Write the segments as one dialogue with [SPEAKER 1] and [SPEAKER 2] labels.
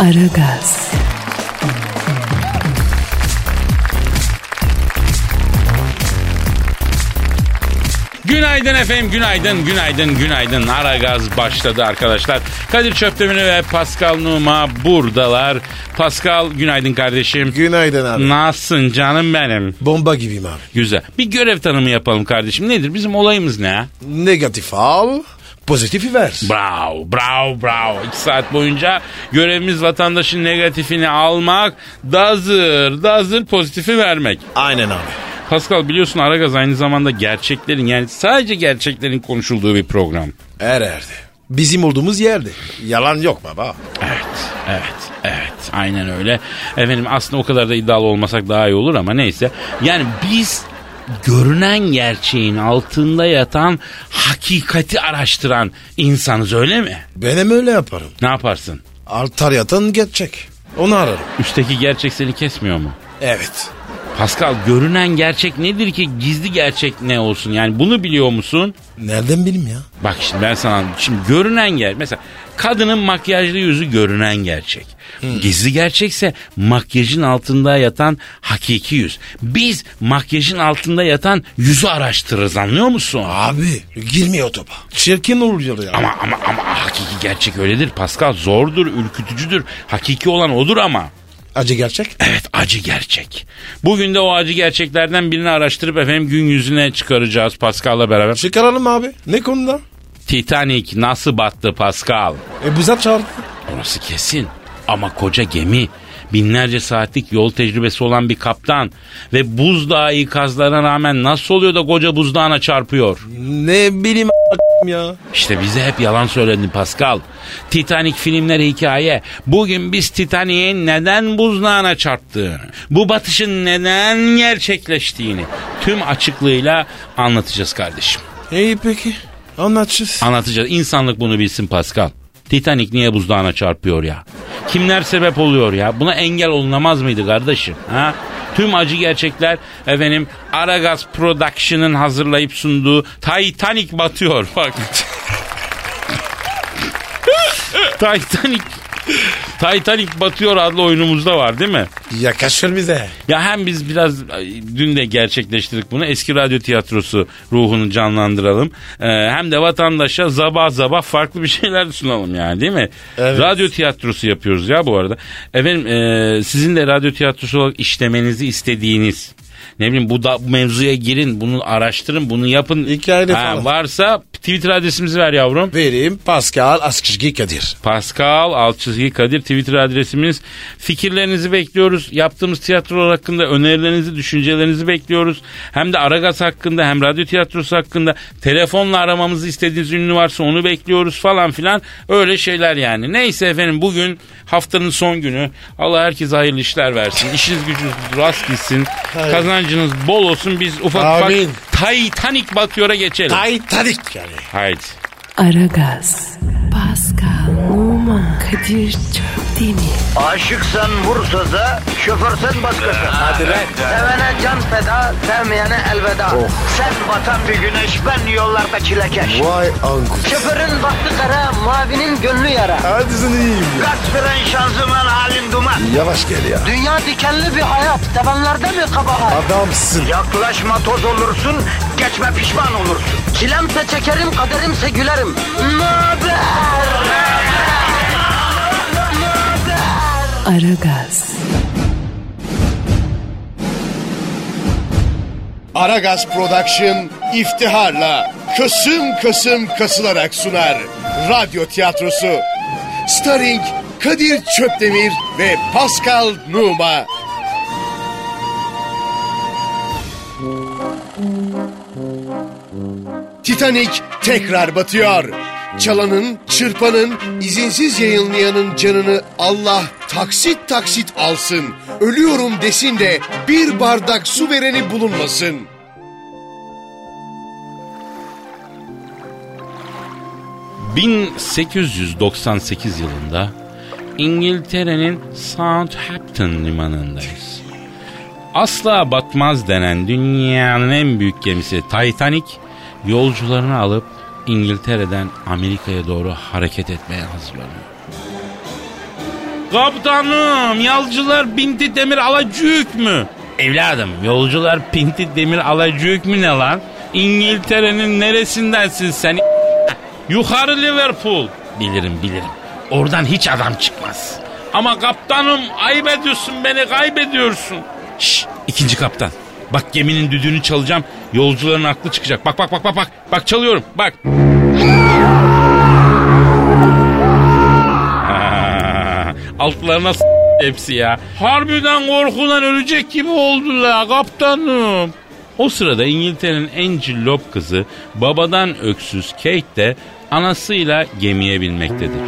[SPEAKER 1] Aragaz,
[SPEAKER 2] Günaydın efendim, günaydın, günaydın, günaydın. Ara gaz başladı arkadaşlar. Kadir Çöptemir ve Pascal Numa buradalar. Pascal günaydın kardeşim.
[SPEAKER 3] Günaydın abi.
[SPEAKER 2] Nasılsın canım benim?
[SPEAKER 3] Hmm. Bomba gibiyim abi.
[SPEAKER 2] Güzel. Bir görev tanımı yapalım kardeşim. Nedir? Bizim olayımız ne?
[SPEAKER 3] Negatif al, pozitifi ver.
[SPEAKER 2] Bravo, bravo, bravo. İki saat boyunca görevimiz vatandaşın negatifini almak, dazır, dazır pozitifi vermek.
[SPEAKER 3] Aynen abi.
[SPEAKER 2] Pascal biliyorsun Aragaz aynı zamanda gerçeklerin yani sadece gerçeklerin konuşulduğu bir program.
[SPEAKER 3] Her yerde. Bizim olduğumuz yerde. Yalan yok baba.
[SPEAKER 2] Evet, evet, evet. Aynen öyle. Efendim aslında o kadar da iddialı olmasak daha iyi olur ama neyse. Yani biz görünen gerçeğin altında yatan hakikati araştıran insanız öyle mi?
[SPEAKER 3] Ben hem öyle yaparım.
[SPEAKER 2] Ne yaparsın?
[SPEAKER 3] Altar yatan gerçek. Onu ararım.
[SPEAKER 2] Üstteki gerçek seni kesmiyor mu?
[SPEAKER 3] Evet.
[SPEAKER 2] Pascal görünen gerçek nedir ki gizli gerçek ne olsun? Yani bunu biliyor musun?
[SPEAKER 3] Nereden bileyim ya?
[SPEAKER 2] Bak şimdi ben sana şimdi görünen ger mesela kadının makyajlı yüzü görünen gerçek. Gizli gerçekse makyajın altında yatan hakiki yüz. Biz makyajın altında yatan yüzü araştırırız anlıyor musun?
[SPEAKER 3] Abi girmiyor topa. Çirkin oluyor ya.
[SPEAKER 2] Ama ama ama hakiki gerçek öyledir Pascal zordur ürkütücüdür hakiki olan odur ama.
[SPEAKER 3] Acı gerçek.
[SPEAKER 2] Evet acı gerçek. Bugün de o acı gerçeklerden birini araştırıp efendim gün yüzüne çıkaracağız Pascal'la beraber.
[SPEAKER 3] Çıkaralım abi. Ne konuda?
[SPEAKER 2] Titanic nasıl battı Pascal?
[SPEAKER 3] E buza çağırdı.
[SPEAKER 2] Orası kesin. Ama koca gemi, binlerce saatlik yol tecrübesi olan bir kaptan ve buzdağı ikazlarına rağmen nasıl oluyor da koca buzdağına çarpıyor?
[SPEAKER 3] Ne bileyim a- ya.
[SPEAKER 2] İşte bize hep yalan söyledin Pascal. Titanic filmleri hikaye. Bugün biz Titanic'in neden buzdağına çarptığını, bu batışın neden gerçekleştiğini tüm açıklığıyla anlatacağız kardeşim.
[SPEAKER 3] İyi peki. Anlatacağız.
[SPEAKER 2] Anlatacağız. İnsanlık bunu bilsin Pascal. Titanic niye buzdağına çarpıyor ya? Kimler sebep oluyor ya? Buna engel olunamaz mıydı kardeşim? Ha? Tüm acı gerçekler efendim Aragaz Production'ın hazırlayıp sunduğu Titanic batıyor. Bak. Titanic Titanic batıyor adlı oyunumuzda var değil mi?
[SPEAKER 3] Yaklaşır bize.
[SPEAKER 2] Ya hem biz biraz ay, dün de gerçekleştirdik bunu. Eski radyo tiyatrosu ruhunu canlandıralım. Ee, hem de vatandaşa zaba zaba farklı bir şeyler sunalım yani değil mi?
[SPEAKER 3] Evet.
[SPEAKER 2] Radyo tiyatrosu yapıyoruz ya bu arada. Efendim e, sizin de radyo tiyatrosu olarak işlemenizi istediğiniz ne bileyim bu, da, bu mevzuya girin bunu araştırın bunu yapın.
[SPEAKER 3] Hikayede
[SPEAKER 2] Ha,
[SPEAKER 3] falan.
[SPEAKER 2] Varsa Twitter adresimizi ver yavrum.
[SPEAKER 3] Vereyim Pascal Askışgi Kadir.
[SPEAKER 2] Pascal Alçızgi Kadir Twitter adresimiz. Fikirlerinizi bekliyoruz. Yaptığımız tiyatrolar hakkında önerilerinizi, düşüncelerinizi bekliyoruz. Hem de Aragaz hakkında hem radyo tiyatrosu hakkında telefonla aramamızı istediğiniz ünlü varsa onu bekliyoruz falan filan. Öyle şeyler yani. Neyse efendim bugün haftanın son günü. Allah herkese hayırlı işler versin. İşiniz gücünüz rast gitsin.
[SPEAKER 3] Hayır.
[SPEAKER 2] Kazancınız bol olsun. Biz ufak
[SPEAKER 3] Amin.
[SPEAKER 2] ufak Titanic batıyor'a geçelim.
[SPEAKER 3] Titanic yani.
[SPEAKER 2] Haydi.
[SPEAKER 1] Aragaz, Pascal, Oman, Kadir çok değil mi?
[SPEAKER 4] Aşıksan vursa da, şoförsen başkasın. Hadi Sevene can feda, sevmeyene elveda. Sen batan bir güneş, ben yollarda çilekeş.
[SPEAKER 3] Vay anku.
[SPEAKER 4] Şoförün baktı kara, mavinin gönlü yara.
[SPEAKER 3] Hadi sen iyiyim ya.
[SPEAKER 4] Kasperen şanzıman halin duman.
[SPEAKER 3] Yavaş gel ya.
[SPEAKER 4] Dünya dikenli bir hayat, sevenlerde mi kabahar?
[SPEAKER 3] Adamsın.
[SPEAKER 4] Yaklaşma toz olursun, geçme pişman olursun. Çilemse çekerim, kaderimse gülerim. Möber!
[SPEAKER 1] Aragaz,
[SPEAKER 5] Aragaz Production iftiharla kısım kısım kasılarak sunar. Radyo tiyatrosu. Starring Kadir Çöpdemir ve Pascal Numa. Titanic tekrar batıyor. Çalanın, çırpanın, izinsiz yayınlayanın canını Allah taksit taksit alsın. Ölüyorum desin de bir bardak su vereni bulunmasın.
[SPEAKER 2] ...1898 yılında... ...İngiltere'nin Southampton limanındayız. Asla batmaz denen dünyanın en büyük gemisi Titanic... ...yolcularını alıp İngiltere'den Amerika'ya doğru hareket etmeye hazırlanıyor. Kaptanım yolcular pinti demir alacık mı? Evladım yolcular pinti demir alacık mı ne lan? İngiltere'nin neresindensin sen? Yukarı Liverpool. Bilirim bilirim. Oradan hiç adam çıkmaz. Ama kaptanım ayıp ediyorsun beni kaybediyorsun. Şşş ikinci kaptan. Bak geminin düdüğünü çalacağım. Yolcuların aklı çıkacak. Bak bak bak bak bak. Bak çalıyorum bak. Ha, Altlarına s- hepsi ya. Harbiden korkudan ölecek gibi oldular kaptanım. O sırada İngiltere'nin en cillop kızı babadan öksüz Kate de anasıyla gemiye binmektedir.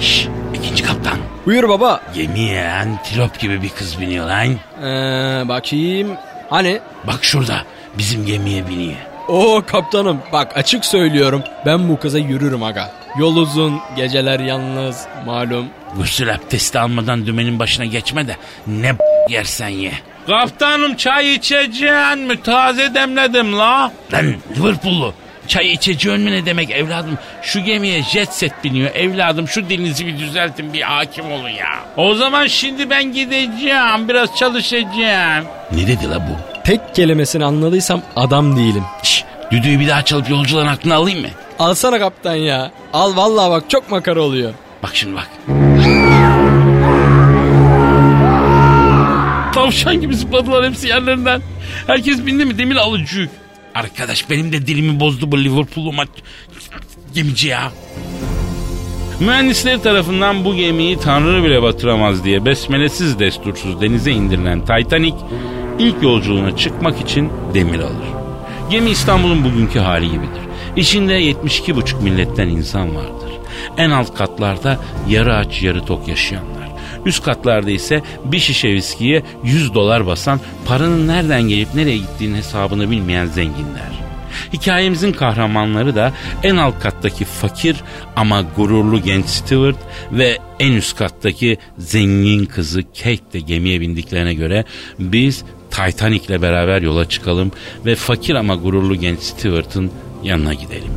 [SPEAKER 2] Şşş ikinci kaptan.
[SPEAKER 6] Buyur baba.
[SPEAKER 2] Gemiye antilop gibi bir kız biniyor lan.
[SPEAKER 6] Ee, bakayım. Hani?
[SPEAKER 2] Bak şurada bizim gemiye biniyor.
[SPEAKER 6] Oo kaptanım bak açık söylüyorum ben bu kıza yürürüm aga. Yol uzun, geceler yalnız malum.
[SPEAKER 2] Gusül abdesti almadan dümenin başına geçme de ne yersen ye. Kaptanım çay içeceğin mi? Taze demledim la. Lan Liverpool'lu. Çay içeceğin mi ne demek evladım? Şu gemiye jet set biniyor evladım. Şu dilinizi bir düzeltin bir hakim olun ya. O zaman şimdi ben gideceğim. Biraz çalışacağım. Ne dedi la bu?
[SPEAKER 6] Tek kelimesini anladıysam adam değilim.
[SPEAKER 2] Şş, düdüğü bir daha çalıp yolcuların aklını alayım mı?
[SPEAKER 6] Alsana kaptan ya. Al vallahi bak çok makara oluyor.
[SPEAKER 2] Bak şimdi bak. Tavşan gibi zıpladılar hepsi yerlerinden. Herkes bindi mi demir alıcı. Arkadaş benim de dilimi bozdu bu Liverpool'lu maç gemici ya. Mühendisleri tarafından bu gemiyi tanrı bile batıramaz diye besmelesiz destursuz denize indirilen Titanic ilk yolculuğuna çıkmak için demir alır. Gemi İstanbul'un bugünkü hali gibidir. İçinde 72,5 milletten insan vardır. En alt katlarda yarı aç yarı tok yaşayanlar. Üst katlarda ise bir şişe viskiye 100 dolar basan paranın nereden gelip nereye gittiğinin hesabını bilmeyen zenginler. Hikayemizin kahramanları da en alt kattaki fakir ama gururlu genç Stewart ve en üst kattaki zengin kızı Kate de gemiye bindiklerine göre biz Titanic'le beraber yola çıkalım ve fakir ama gururlu genç Stewart'ın yanına gidelim.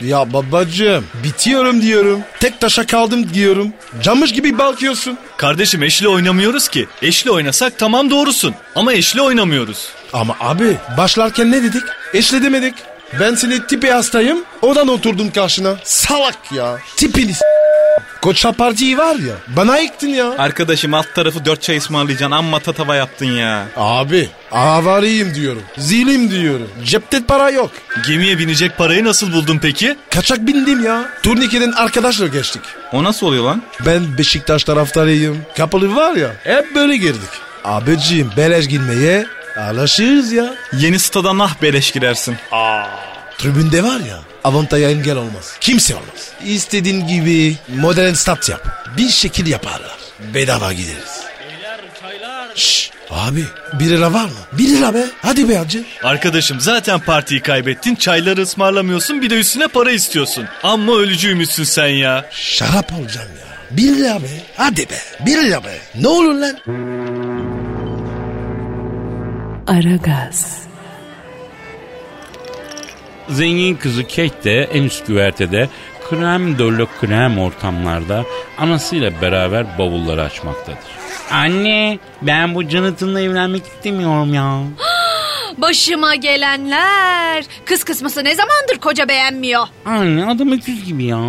[SPEAKER 3] Ya babacığım bitiyorum diyorum. Tek taşa kaldım diyorum. Camış gibi balkıyorsun.
[SPEAKER 7] Kardeşim eşli oynamıyoruz ki. Eşli oynasak tamam doğrusun. Ama eşli oynamıyoruz.
[SPEAKER 3] Ama abi başlarken ne dedik? Eşle demedik. Ben seni tipi hastayım. Oradan oturdum karşına. Salak ya. Tipini s- Koça partiyi var ya. Bana yıktın ya.
[SPEAKER 7] Arkadaşım alt tarafı dört çay ısmarlayacaksın. Amma tatava yaptın ya.
[SPEAKER 3] Abi avariyim diyorum. Zilim diyorum. Cepte para yok.
[SPEAKER 7] Gemiye binecek parayı nasıl buldun peki?
[SPEAKER 3] Kaçak bindim ya. Turnikeden arkadaşla geçtik.
[SPEAKER 7] O nasıl oluyor lan?
[SPEAKER 3] Ben Beşiktaş taraftarıyım. Kapalı var ya. Hep böyle girdik. Abiciğim beleş girmeye alışırız ya.
[SPEAKER 7] Yeni stadan ah beleş girersin.
[SPEAKER 3] Tribünde var ya avantaja engel olmaz. Kimse olmaz. İstediğin gibi modern stat yap. Bir şekil yaparlar. Bedava gideriz. Şşş abi bir lira var mı? Bir lira be. Hadi be hacı.
[SPEAKER 7] Arkadaşım zaten partiyi kaybettin. Çayları ısmarlamıyorsun. Bir de üstüne para istiyorsun. Amma ölücüymüşsün sen ya.
[SPEAKER 3] Şarap alacağım ya. Bir lira be. Hadi be. Bir lira be. Ne olur lan?
[SPEAKER 1] Aragaz,
[SPEAKER 2] Zengin kızı Kate de en üst güvertede krem döllü krem ortamlarda anasıyla beraber bavulları açmaktadır. Anne ben bu Jonathan'la evlenmek istemiyorum ya.
[SPEAKER 8] Başıma gelenler. Kız kısmısı ne zamandır koca beğenmiyor?
[SPEAKER 2] Anne adam öküz gibi ya.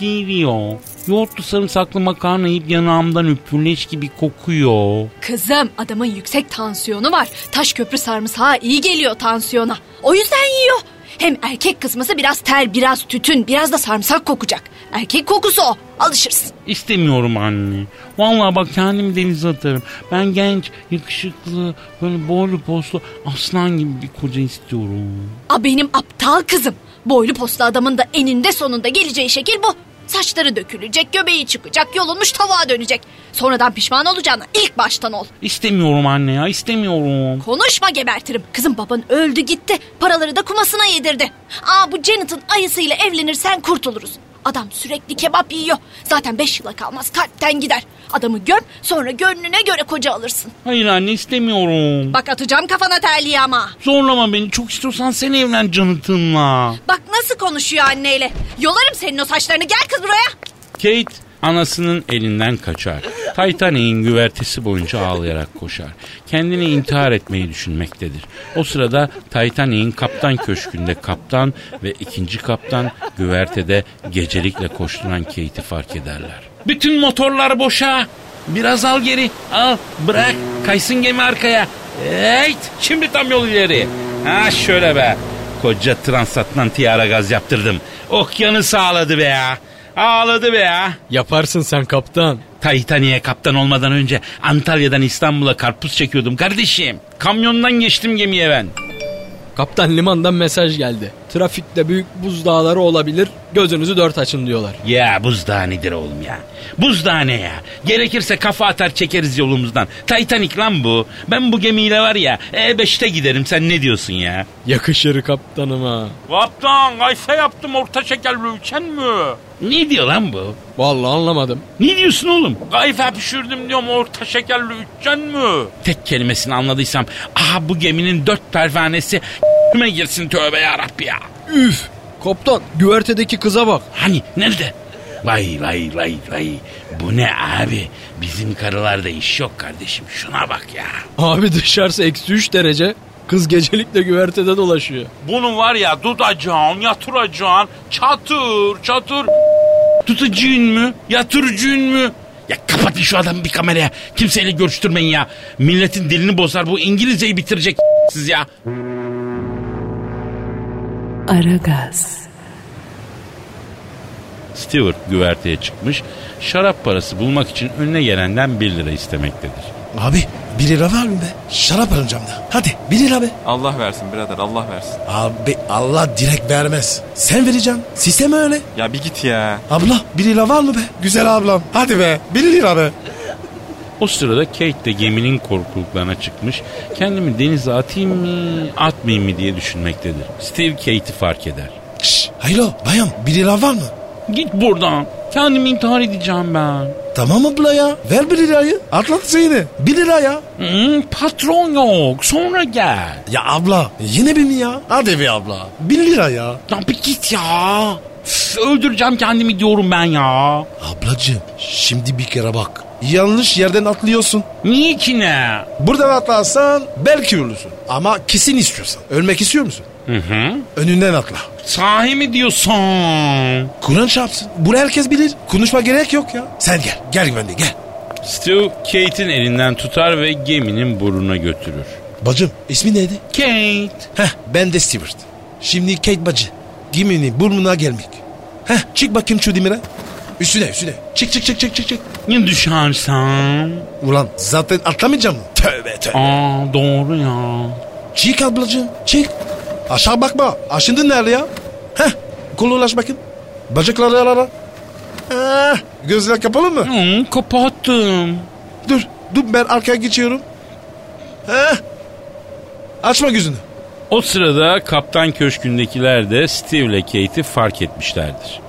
[SPEAKER 2] Geliyor. Yoğurtlu sarımsaklı makarna yiyip yanağımdan üpürleş gibi kokuyor.
[SPEAKER 8] Kızım adamın yüksek tansiyonu var. Taş köprü sarımsağı iyi geliyor tansiyona. O yüzden yiyor. Hem erkek kısması biraz ter, biraz tütün, biraz da sarımsak kokacak. Erkek kokusu o. Alışırsın.
[SPEAKER 2] İstemiyorum anne. Vallahi bak kendimi denize atarım. Ben genç, yakışıklı, böyle boylu poslu aslan gibi bir koca istiyorum.
[SPEAKER 8] A benim aptal kızım. Boylu postlu adamın da eninde sonunda geleceği şekil bu. Saçları dökülecek, göbeği çıkacak, yolunmuş tavuğa dönecek. Sonradan pişman olacağına ilk baştan ol.
[SPEAKER 2] İstemiyorum anne ya istemiyorum.
[SPEAKER 8] Konuşma gebertirim. Kızım baban öldü gitti. Paraları da kumasına yedirdi. Aa bu Janet'ın ayısıyla evlenirsen kurtuluruz. Adam sürekli kebap yiyor. Zaten beş yıla kalmaz kalpten gider. Adamı göm sonra gönlüne göre koca alırsın.
[SPEAKER 2] Hayır anne istemiyorum.
[SPEAKER 8] Bak atacağım kafana terliği ama.
[SPEAKER 2] Zorlama beni çok istiyorsan sen evlen Jonathan'la.
[SPEAKER 8] Bak nasıl konuşuyor anneyle. Yolarım senin o saçlarını gel kız buraya.
[SPEAKER 2] Kate anasının elinden kaçar. Titanic'in güvertesi boyunca ağlayarak koşar. Kendini intihar etmeyi düşünmektedir. O sırada Titanic'in kaptan köşkünde kaptan ve ikinci kaptan güvertede gecelikle koşturan Kate'i fark ederler. Bütün motorlar boşa. Biraz al geri. Al bırak. Kaysın gemi arkaya. Evet. Şimdi tam yol ileri. Ha şöyle be. Koca transatlantiğe ara gaz yaptırdım. Okyanus ağladı be ya. Ağladı be ya.
[SPEAKER 6] Yaparsın sen kaptan.
[SPEAKER 2] Titanic'e kaptan olmadan önce Antalya'dan İstanbul'a karpuz çekiyordum kardeşim. Kamyondan geçtim gemiye ben.
[SPEAKER 6] Kaptan limandan mesaj geldi. Trafikte büyük buzdağları olabilir. Gözünüzü dört açın diyorlar.
[SPEAKER 2] Ya buzdağı nedir oğlum ya? Buzdağı ne ya? Gerekirse kafa atar çekeriz yolumuzdan. Titanic lan bu. Ben bu gemiyle var ya E5'te giderim sen ne diyorsun ya?
[SPEAKER 6] Yakışır kaptanıma.
[SPEAKER 2] Kaptan kaysa yaptım orta şekerli üçen mi? Ne diyor lan bu?
[SPEAKER 6] Vallahi anlamadım.
[SPEAKER 2] Ne diyorsun oğlum? Kayfa pişirdim diyorum orta şekerli üçgen mi? Tek kelimesini anladıysam aha bu geminin dört pervanesi ...me girsin tövbe yarabbi ya.
[SPEAKER 6] Üf. Kaptan güvertedeki kıza bak.
[SPEAKER 2] Hani nerede? Vay vay vay vay. Bu ne abi? Bizim karılarda iş yok kardeşim. Şuna bak ya.
[SPEAKER 6] Abi dışarısı eksi 3 derece. Kız gecelikle güvertede dolaşıyor.
[SPEAKER 2] Bunu var ya tutacağın, yatıracağın, çatır çatır tutucun mu, yatırcın mu? Ya kapatın şu adamı bir kameraya. Kimseyle görüştürmeyin ya. Milletin dilini bozar bu İngilizceyi bitirecek siz ya.
[SPEAKER 1] Aragaz,
[SPEAKER 2] Stewart güverteye çıkmış. Şarap parası bulmak için önüne gelenden 1 lira istemektedir.
[SPEAKER 3] Abi 1 lira var mı be? Şarap alacağım da. Hadi 1 lira be.
[SPEAKER 9] Allah versin birader Allah versin.
[SPEAKER 3] Abi Allah direkt vermez. Sen vereceksin. Sistem öyle.
[SPEAKER 9] Ya bir git ya.
[SPEAKER 3] Abla 1 lira var mı be? Güzel ablam. Hadi be 1 lira be.
[SPEAKER 2] O sırada Kate de geminin korkuluklarına çıkmış. Kendimi denize atayım mı, atmayayım mı diye düşünmektedir. Steve Kate'i fark eder.
[SPEAKER 3] Şşş. Haylo bayan 1 lira var mı?
[SPEAKER 2] Git buradan. Kendimi intihar edeceğim ben.
[SPEAKER 3] Tamam abla ya. Ver 1 lirayı. Atlat seni. 1 lira ya.
[SPEAKER 2] Hmm, patron yok. Sonra gel.
[SPEAKER 3] Ya abla yine bir mi ya? Hadi be abla. 1 lira ya.
[SPEAKER 2] Ya bir git ya. Üf, öldüreceğim kendimi diyorum ben ya.
[SPEAKER 3] Ablacığım şimdi bir kere bak. Yanlış yerden atlıyorsun.
[SPEAKER 2] Niye ki ne?
[SPEAKER 3] Buradan atlarsan belki ölürsün. Ama kesin istiyorsan. Ölmek istiyor musun?
[SPEAKER 2] Hı hı.
[SPEAKER 3] Önünden atla.
[SPEAKER 2] Sahi mi diyorsun?
[SPEAKER 3] Kur'an çarpsın. Bunu herkes bilir. Konuşma gerek yok ya. Sen gel. Gel güvenli gel.
[SPEAKER 2] Stu Kate'in elinden tutar ve geminin burnuna götürür.
[SPEAKER 3] Bacım ismi neydi?
[SPEAKER 2] Kate.
[SPEAKER 3] Heh ben de Stewart. Şimdi Kate bacı. Geminin burnuna gelmek. Heh çık bakayım şu demire. Üstüne üstüne. Çık çık çık çık çık. çık.
[SPEAKER 2] Ne düşersen?
[SPEAKER 3] Ulan zaten atlamayacağım mı? Tövbe tövbe.
[SPEAKER 2] Aa doğru ya.
[SPEAKER 3] Çık ablacığım çık. Aşağı bakma. Aşındın nerede ya? Heh kolu ulaş bakayım. Bacakları ara ara. Ah, gözler kapalı mı?
[SPEAKER 2] Hı, kapattım.
[SPEAKER 3] Dur dur ben arkaya geçiyorum. Heh. Açma gözünü.
[SPEAKER 2] O sırada kaptan köşkündekiler de Steve ile Kate'i fark etmişlerdir.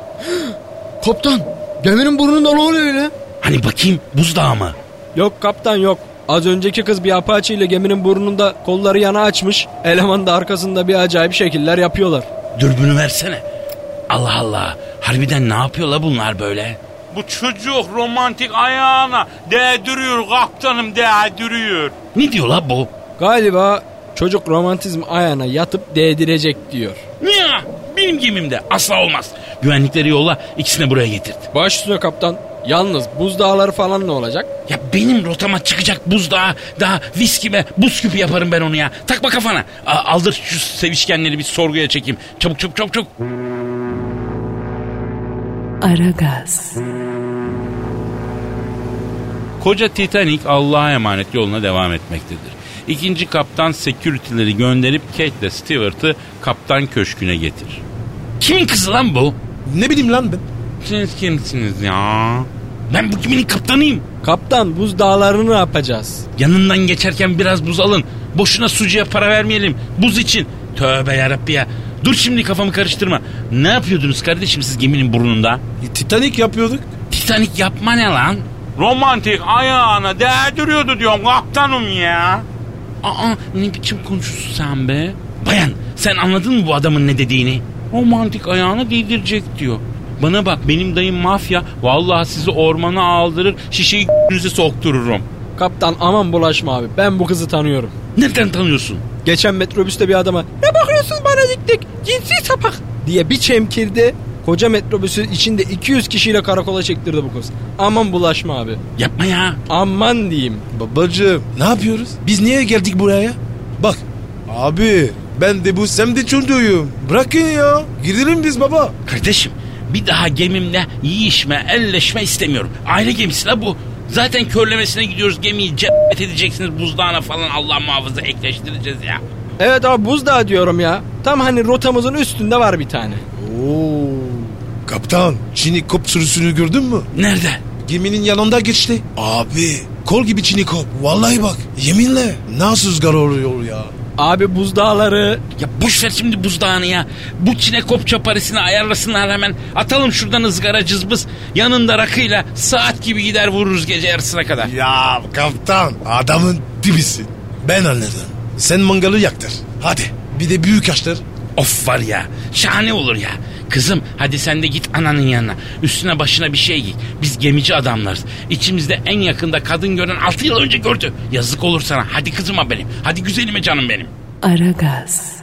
[SPEAKER 6] Kaptan geminin burnunda ne oluyor öyle?
[SPEAKER 2] Hani bakayım buzdağı mı?
[SPEAKER 6] Yok kaptan yok. Az önceki kız bir apaçı ile geminin burnunda kolları yana açmış. Eleman da arkasında bir acayip şekiller yapıyorlar.
[SPEAKER 2] Dürbünü versene. Allah Allah. Harbiden ne yapıyorlar bunlar böyle? Bu çocuk romantik ayağına değdiriyor kaptanım değdiriyor. Ne diyor la bu?
[SPEAKER 6] Galiba çocuk romantizm ayağına yatıp değdirecek diyor.
[SPEAKER 2] Niye? Benim gemimde asla olmaz. Güvenlikleri yolla ikisini buraya getirt.
[SPEAKER 6] Baş üstüne kaptan. Yalnız buzdağları falan ne olacak?
[SPEAKER 2] Ya benim rotama çıkacak buzdağı daha viskime buz küpü yaparım ben onu ya. Takma kafana. A- aldır şu sevişkenleri bir sorguya çekeyim. Çabuk çabuk çabuk çabuk.
[SPEAKER 1] Aragaz,
[SPEAKER 2] Koca Titanic Allah'a emanet yoluna devam etmektedir. İkinci kaptan security'leri gönderip Kate ile Stewart'ı kaptan köşküne getirir. Kimin kızı lan bu?
[SPEAKER 3] Ne bileyim lan ben.
[SPEAKER 2] Siz kimsiniz ya? Ben bu geminin kaptanıyım.
[SPEAKER 6] Kaptan buzdağlarını ne yapacağız?
[SPEAKER 2] Yanından geçerken biraz buz alın. Boşuna sucuya para vermeyelim. Buz için. Tövbe yarabbi ya. Dur şimdi kafamı karıştırma. Ne yapıyordunuz kardeşim siz geminin burnunda?
[SPEAKER 3] E, Titanic yapıyorduk.
[SPEAKER 2] Titanik yapma ne lan? Romantik ayağına değdiriyordu diyorum kaptanım ya. Aa ne biçim konuşuyorsun sen be? Bayan sen anladın mı bu adamın ne dediğini? Romantik ayağını değdirecek diyor. Bana bak benim dayım mafya. Vallahi sizi ormana aldırır şişeyi yüzü soktururum.
[SPEAKER 6] Kaptan aman bulaşma abi ben bu kızı tanıyorum.
[SPEAKER 2] Nereden tanıyorsun?
[SPEAKER 6] Geçen metrobüste bir adama ne bakıyorsun bana dik dik cinsi sapak diye bir çemkirdi. Koca metrobüsü içinde 200 kişiyle karakola çektirdi bu kız. Aman bulaşma abi.
[SPEAKER 2] Yapma ya.
[SPEAKER 6] Aman diyeyim.
[SPEAKER 3] Babacığım ne yapıyoruz? Biz niye geldik buraya? Bak abi ben de bu semdi çocuğuyum. Bırakın ya. Gidelim biz baba.
[SPEAKER 2] Kardeşim bir daha gemimle yiyişme, elleşme istemiyorum. Aile gemisi la bu. Zaten körlemesine gidiyoruz gemiyi cephet edeceksiniz buzdağına falan Allah muhafaza ekleştireceğiz ya.
[SPEAKER 6] Evet abi buzdağı diyorum ya. Tam hani rotamızın üstünde var bir tane.
[SPEAKER 3] Oo. Kaptan Çin'i kop sürüsünü gördün mü?
[SPEAKER 2] Nerede?
[SPEAKER 3] Geminin yanında geçti. Abi kol gibi Çin'i kop. Vallahi bak yeminle nasıl rüzgar oluyor ya.
[SPEAKER 6] Abi buzdağları
[SPEAKER 2] Ya boş ver şimdi buzdağını ya. Bu çine kopça parisini ayarlasınlar hemen. Atalım şuradan ızgara cızbız. Yanında rakıyla saat gibi gider vururuz gece yarısına kadar.
[SPEAKER 3] Ya kaptan adamın dibisin. Ben anladım. Sen mangalı yaktır. Hadi bir de büyük açtır.
[SPEAKER 2] Of var ya şahane olur ya. Kızım hadi sen de git ananın yanına. Üstüne başına bir şey giy. Biz gemici adamlarız. İçimizde en yakında kadın gören 6 yıl önce gördü. Yazık olur sana. Hadi kızıma benim. Hadi güzelime canım benim.
[SPEAKER 1] Aragaz,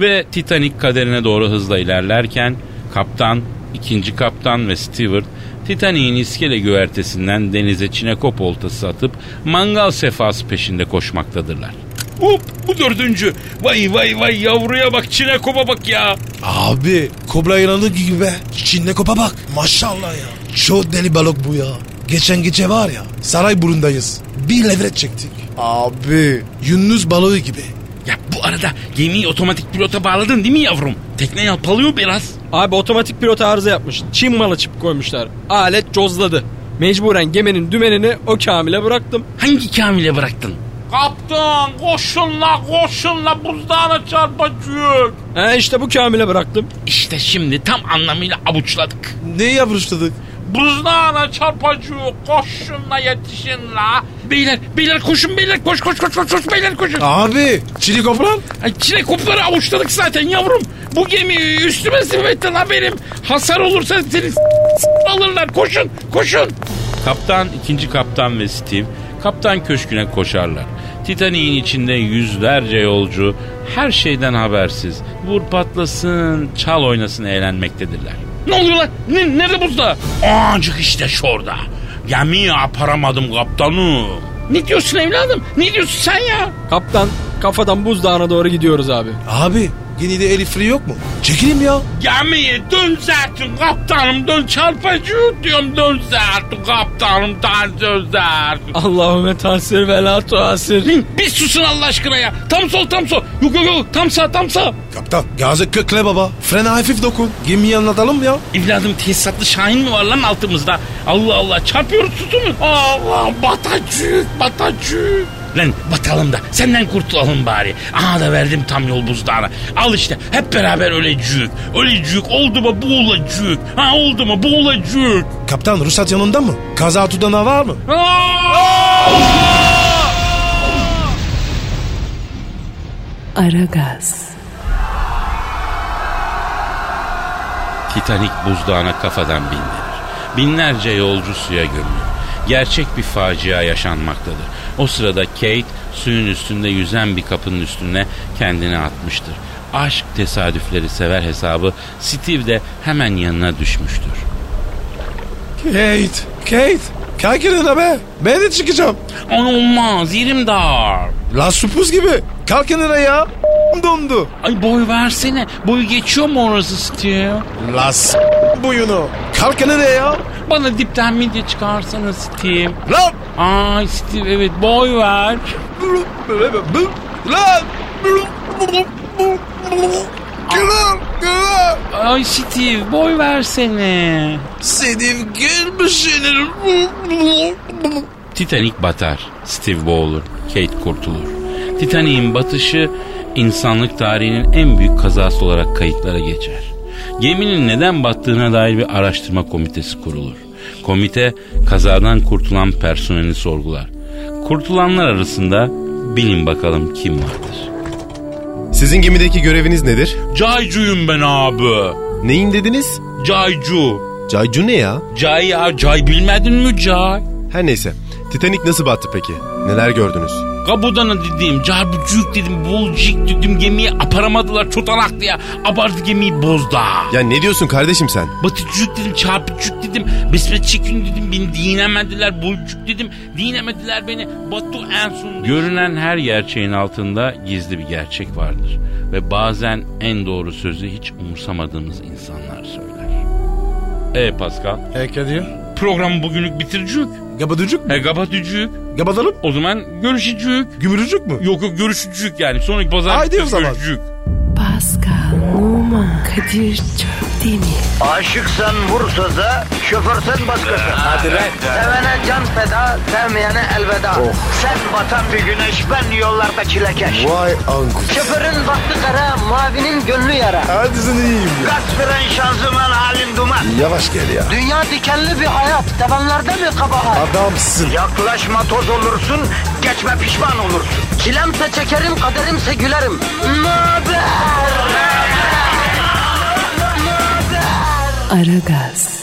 [SPEAKER 2] Ve Titanic kaderine doğru hızla ilerlerken kaptan, ikinci kaptan ve Stewart Titanic'in iskele güvertesinden denize çinekop oltası atıp mangal sefası peşinde koşmaktadırlar. Hop bu dördüncü. Vay vay vay yavruya bak çinekopa bak ya.
[SPEAKER 3] Abi kobra yılanı gibi be. Çin'le kopa bak. Maşallah ya. Çok deli balık bu ya. Geçen gece var ya Sarayburnu'ndayız. Bir levret çektik. Abi. Yunus balığı gibi.
[SPEAKER 2] Ya bu arada gemiyi otomatik pilota bağladın değil mi yavrum? Tekne yalpalıyor biraz.
[SPEAKER 6] abi otomatik pilot arıza yapmış. Çin malı çip koymuşlar. Alet cozladı. Mecburen geminin dümenini o kamile bıraktım.
[SPEAKER 2] Hangi kamile bıraktın? Kaptan koşun la koşun la buzdağına çarpacak.
[SPEAKER 6] He işte bu kamile bıraktım.
[SPEAKER 2] İşte şimdi tam anlamıyla avuçladık.
[SPEAKER 3] Ne yavruşladık?
[SPEAKER 2] Buzdağına çarpacak koşun la yetişin la. Beyler beyler koşun beyler koş koş koş koş, koş beyler koşun.
[SPEAKER 3] Abi. Çin'li kopran.
[SPEAKER 2] Ay çinekopları avuçladık zaten yavrum. Bu gemi üstüme simetti la benim. Hasar olursa seni s- s- alırlar. Koşun, koşun. Kaptan, ikinci kaptan ve Steve kaptan köşküne koşarlar. Titanik'in içinde yüzlerce yolcu her şeyden habersiz. Vur patlasın, çal oynasın eğlenmektedirler. Ne oluyor lan? Ne, nerede buzda? Ancak işte şurada. Gemiyi aparamadım kaptanım. Ne diyorsun evladım? Ne diyorsun sen ya?
[SPEAKER 6] Kaptan kafadan buzdağına doğru gidiyoruz abi.
[SPEAKER 3] Abi. Yine de eli free yok mu? Çekelim ya.
[SPEAKER 2] Gemiye dön zaten kaptanım dön çarpıcı diyorum dön zaten kaptanım dön, dön zaten.
[SPEAKER 6] Allahümme tasir ve la tuasir.
[SPEAKER 2] Lan Bir susun Allah aşkına ya. Tam sol tam sol. Yok yok yok tam sağ tam sağ.
[SPEAKER 3] Kaptan. Gazı kökle baba. Frene hafif dokun. Gemiyi anlatalım ya.
[SPEAKER 2] Evladım tesisatlı Şahin mi var lan altımızda? Allah Allah çarpıyoruz susunuz. Allah batacık batacık. Lan batalım da senden kurtulalım bari. Aha da verdim tam yol buzdağına. Al işte hep beraber ölecük. Ölecük oldu mu boğulacık. Ha oldu mu boğulacık.
[SPEAKER 3] Kaptan ruhsat yanında mı? Kaza tutanağı var mı?
[SPEAKER 1] Aragaz,
[SPEAKER 2] Titanik buzdağına kafadan bindirir. Binlerce yolcu suya gömülür. Gerçek bir facia yaşanmaktadır. O sırada Kate suyun üstünde yüzen bir kapının üstüne kendini atmıştır. Aşk tesadüfleri sever hesabı Steve de hemen yanına düşmüştür.
[SPEAKER 3] Kate, Kate. Kalk yanına be. Ben de çıkacağım.
[SPEAKER 2] An olmaz yerim dar.
[SPEAKER 3] Lan supuz gibi. Kalk yanına ya. Dondu.
[SPEAKER 2] Ay boy versene. Boyu geçiyor mu orası Steve?
[SPEAKER 3] Las boyunu. Kalk yanına ya.
[SPEAKER 2] Bana dipten midye çıkarsana Steve.
[SPEAKER 3] Lan.
[SPEAKER 2] Ay Steve evet boy ver.
[SPEAKER 3] Lan. Gülüm, gülüm.
[SPEAKER 2] Ay Steve boy versene.
[SPEAKER 3] Senin gülmüşsünüm.
[SPEAKER 2] Titanic batar. Steve boğulur. Kate kurtulur. Titanic'in batışı insanlık tarihinin en büyük kazası olarak kayıtlara geçer. Geminin neden battığına dair bir araştırma komitesi kurulur. Komite kazadan kurtulan personeli sorgular. Kurtulanlar arasında bilin bakalım kim vardır.
[SPEAKER 10] Sizin gemideki göreviniz nedir?
[SPEAKER 2] Caycuyum ben abi.
[SPEAKER 10] Neyin dediniz?
[SPEAKER 2] Caycu.
[SPEAKER 10] Caycu ne ya?
[SPEAKER 2] Cay ya cay bilmedin mi cay?
[SPEAKER 10] Her neyse. Titanic nasıl battı peki? Neler gördünüz?
[SPEAKER 2] Kabudana dedim, carbucuk dedim, bolcik dedim gemiyi aparamadılar çotanak diye. Abartı gemiyi bozdu.
[SPEAKER 10] Ya ne diyorsun kardeşim sen?
[SPEAKER 2] Batıcık dedim, çarpıcık dedim, besmet çekin dedim, beni diyinemediler, bolcuk dedim, diyinemediler beni. Batu en son. Görünen her gerçeğin altında gizli bir gerçek vardır. Ve bazen en doğru sözü hiç umursamadığımız insanlar söyler. E Pascal,
[SPEAKER 3] E Kadir.
[SPEAKER 2] programı bugünlük bitiricük.
[SPEAKER 3] Gabaducuk mu?
[SPEAKER 2] E kapatıcık.
[SPEAKER 3] Gabadanıp
[SPEAKER 2] O zaman görüşücük.
[SPEAKER 3] gümrücük mü?
[SPEAKER 2] Yok yok görüşücük yani. Sonraki pazar
[SPEAKER 3] Haydi o
[SPEAKER 2] günü
[SPEAKER 3] zaman.
[SPEAKER 2] görüşücük.
[SPEAKER 1] Pascal, Numan, Kadir çok değil mi?
[SPEAKER 4] Aşıksan vursa da, şoförsen başkasın. Hadi lan. Sevene can feda, sevmeyene elveda.
[SPEAKER 3] Oh.
[SPEAKER 4] Sen batan bir güneş, ben yollarda çilekeş.
[SPEAKER 3] Vay anku.
[SPEAKER 4] Şoförün baktı kara, mavinin gönlü yara.
[SPEAKER 3] Hadi sen iyiyim ya.
[SPEAKER 4] Kasperen şanzıman halin duman.
[SPEAKER 3] Yavaş gel ya.
[SPEAKER 4] Dünya dikenli bir hayat, sevenlerde mi kabahar?
[SPEAKER 3] Adamsın.
[SPEAKER 4] Yaklaşma toz olursun, geçme pişman olursun. Çilemse çekerim, kaderimse gülerim. Möber!
[SPEAKER 1] Aragaz.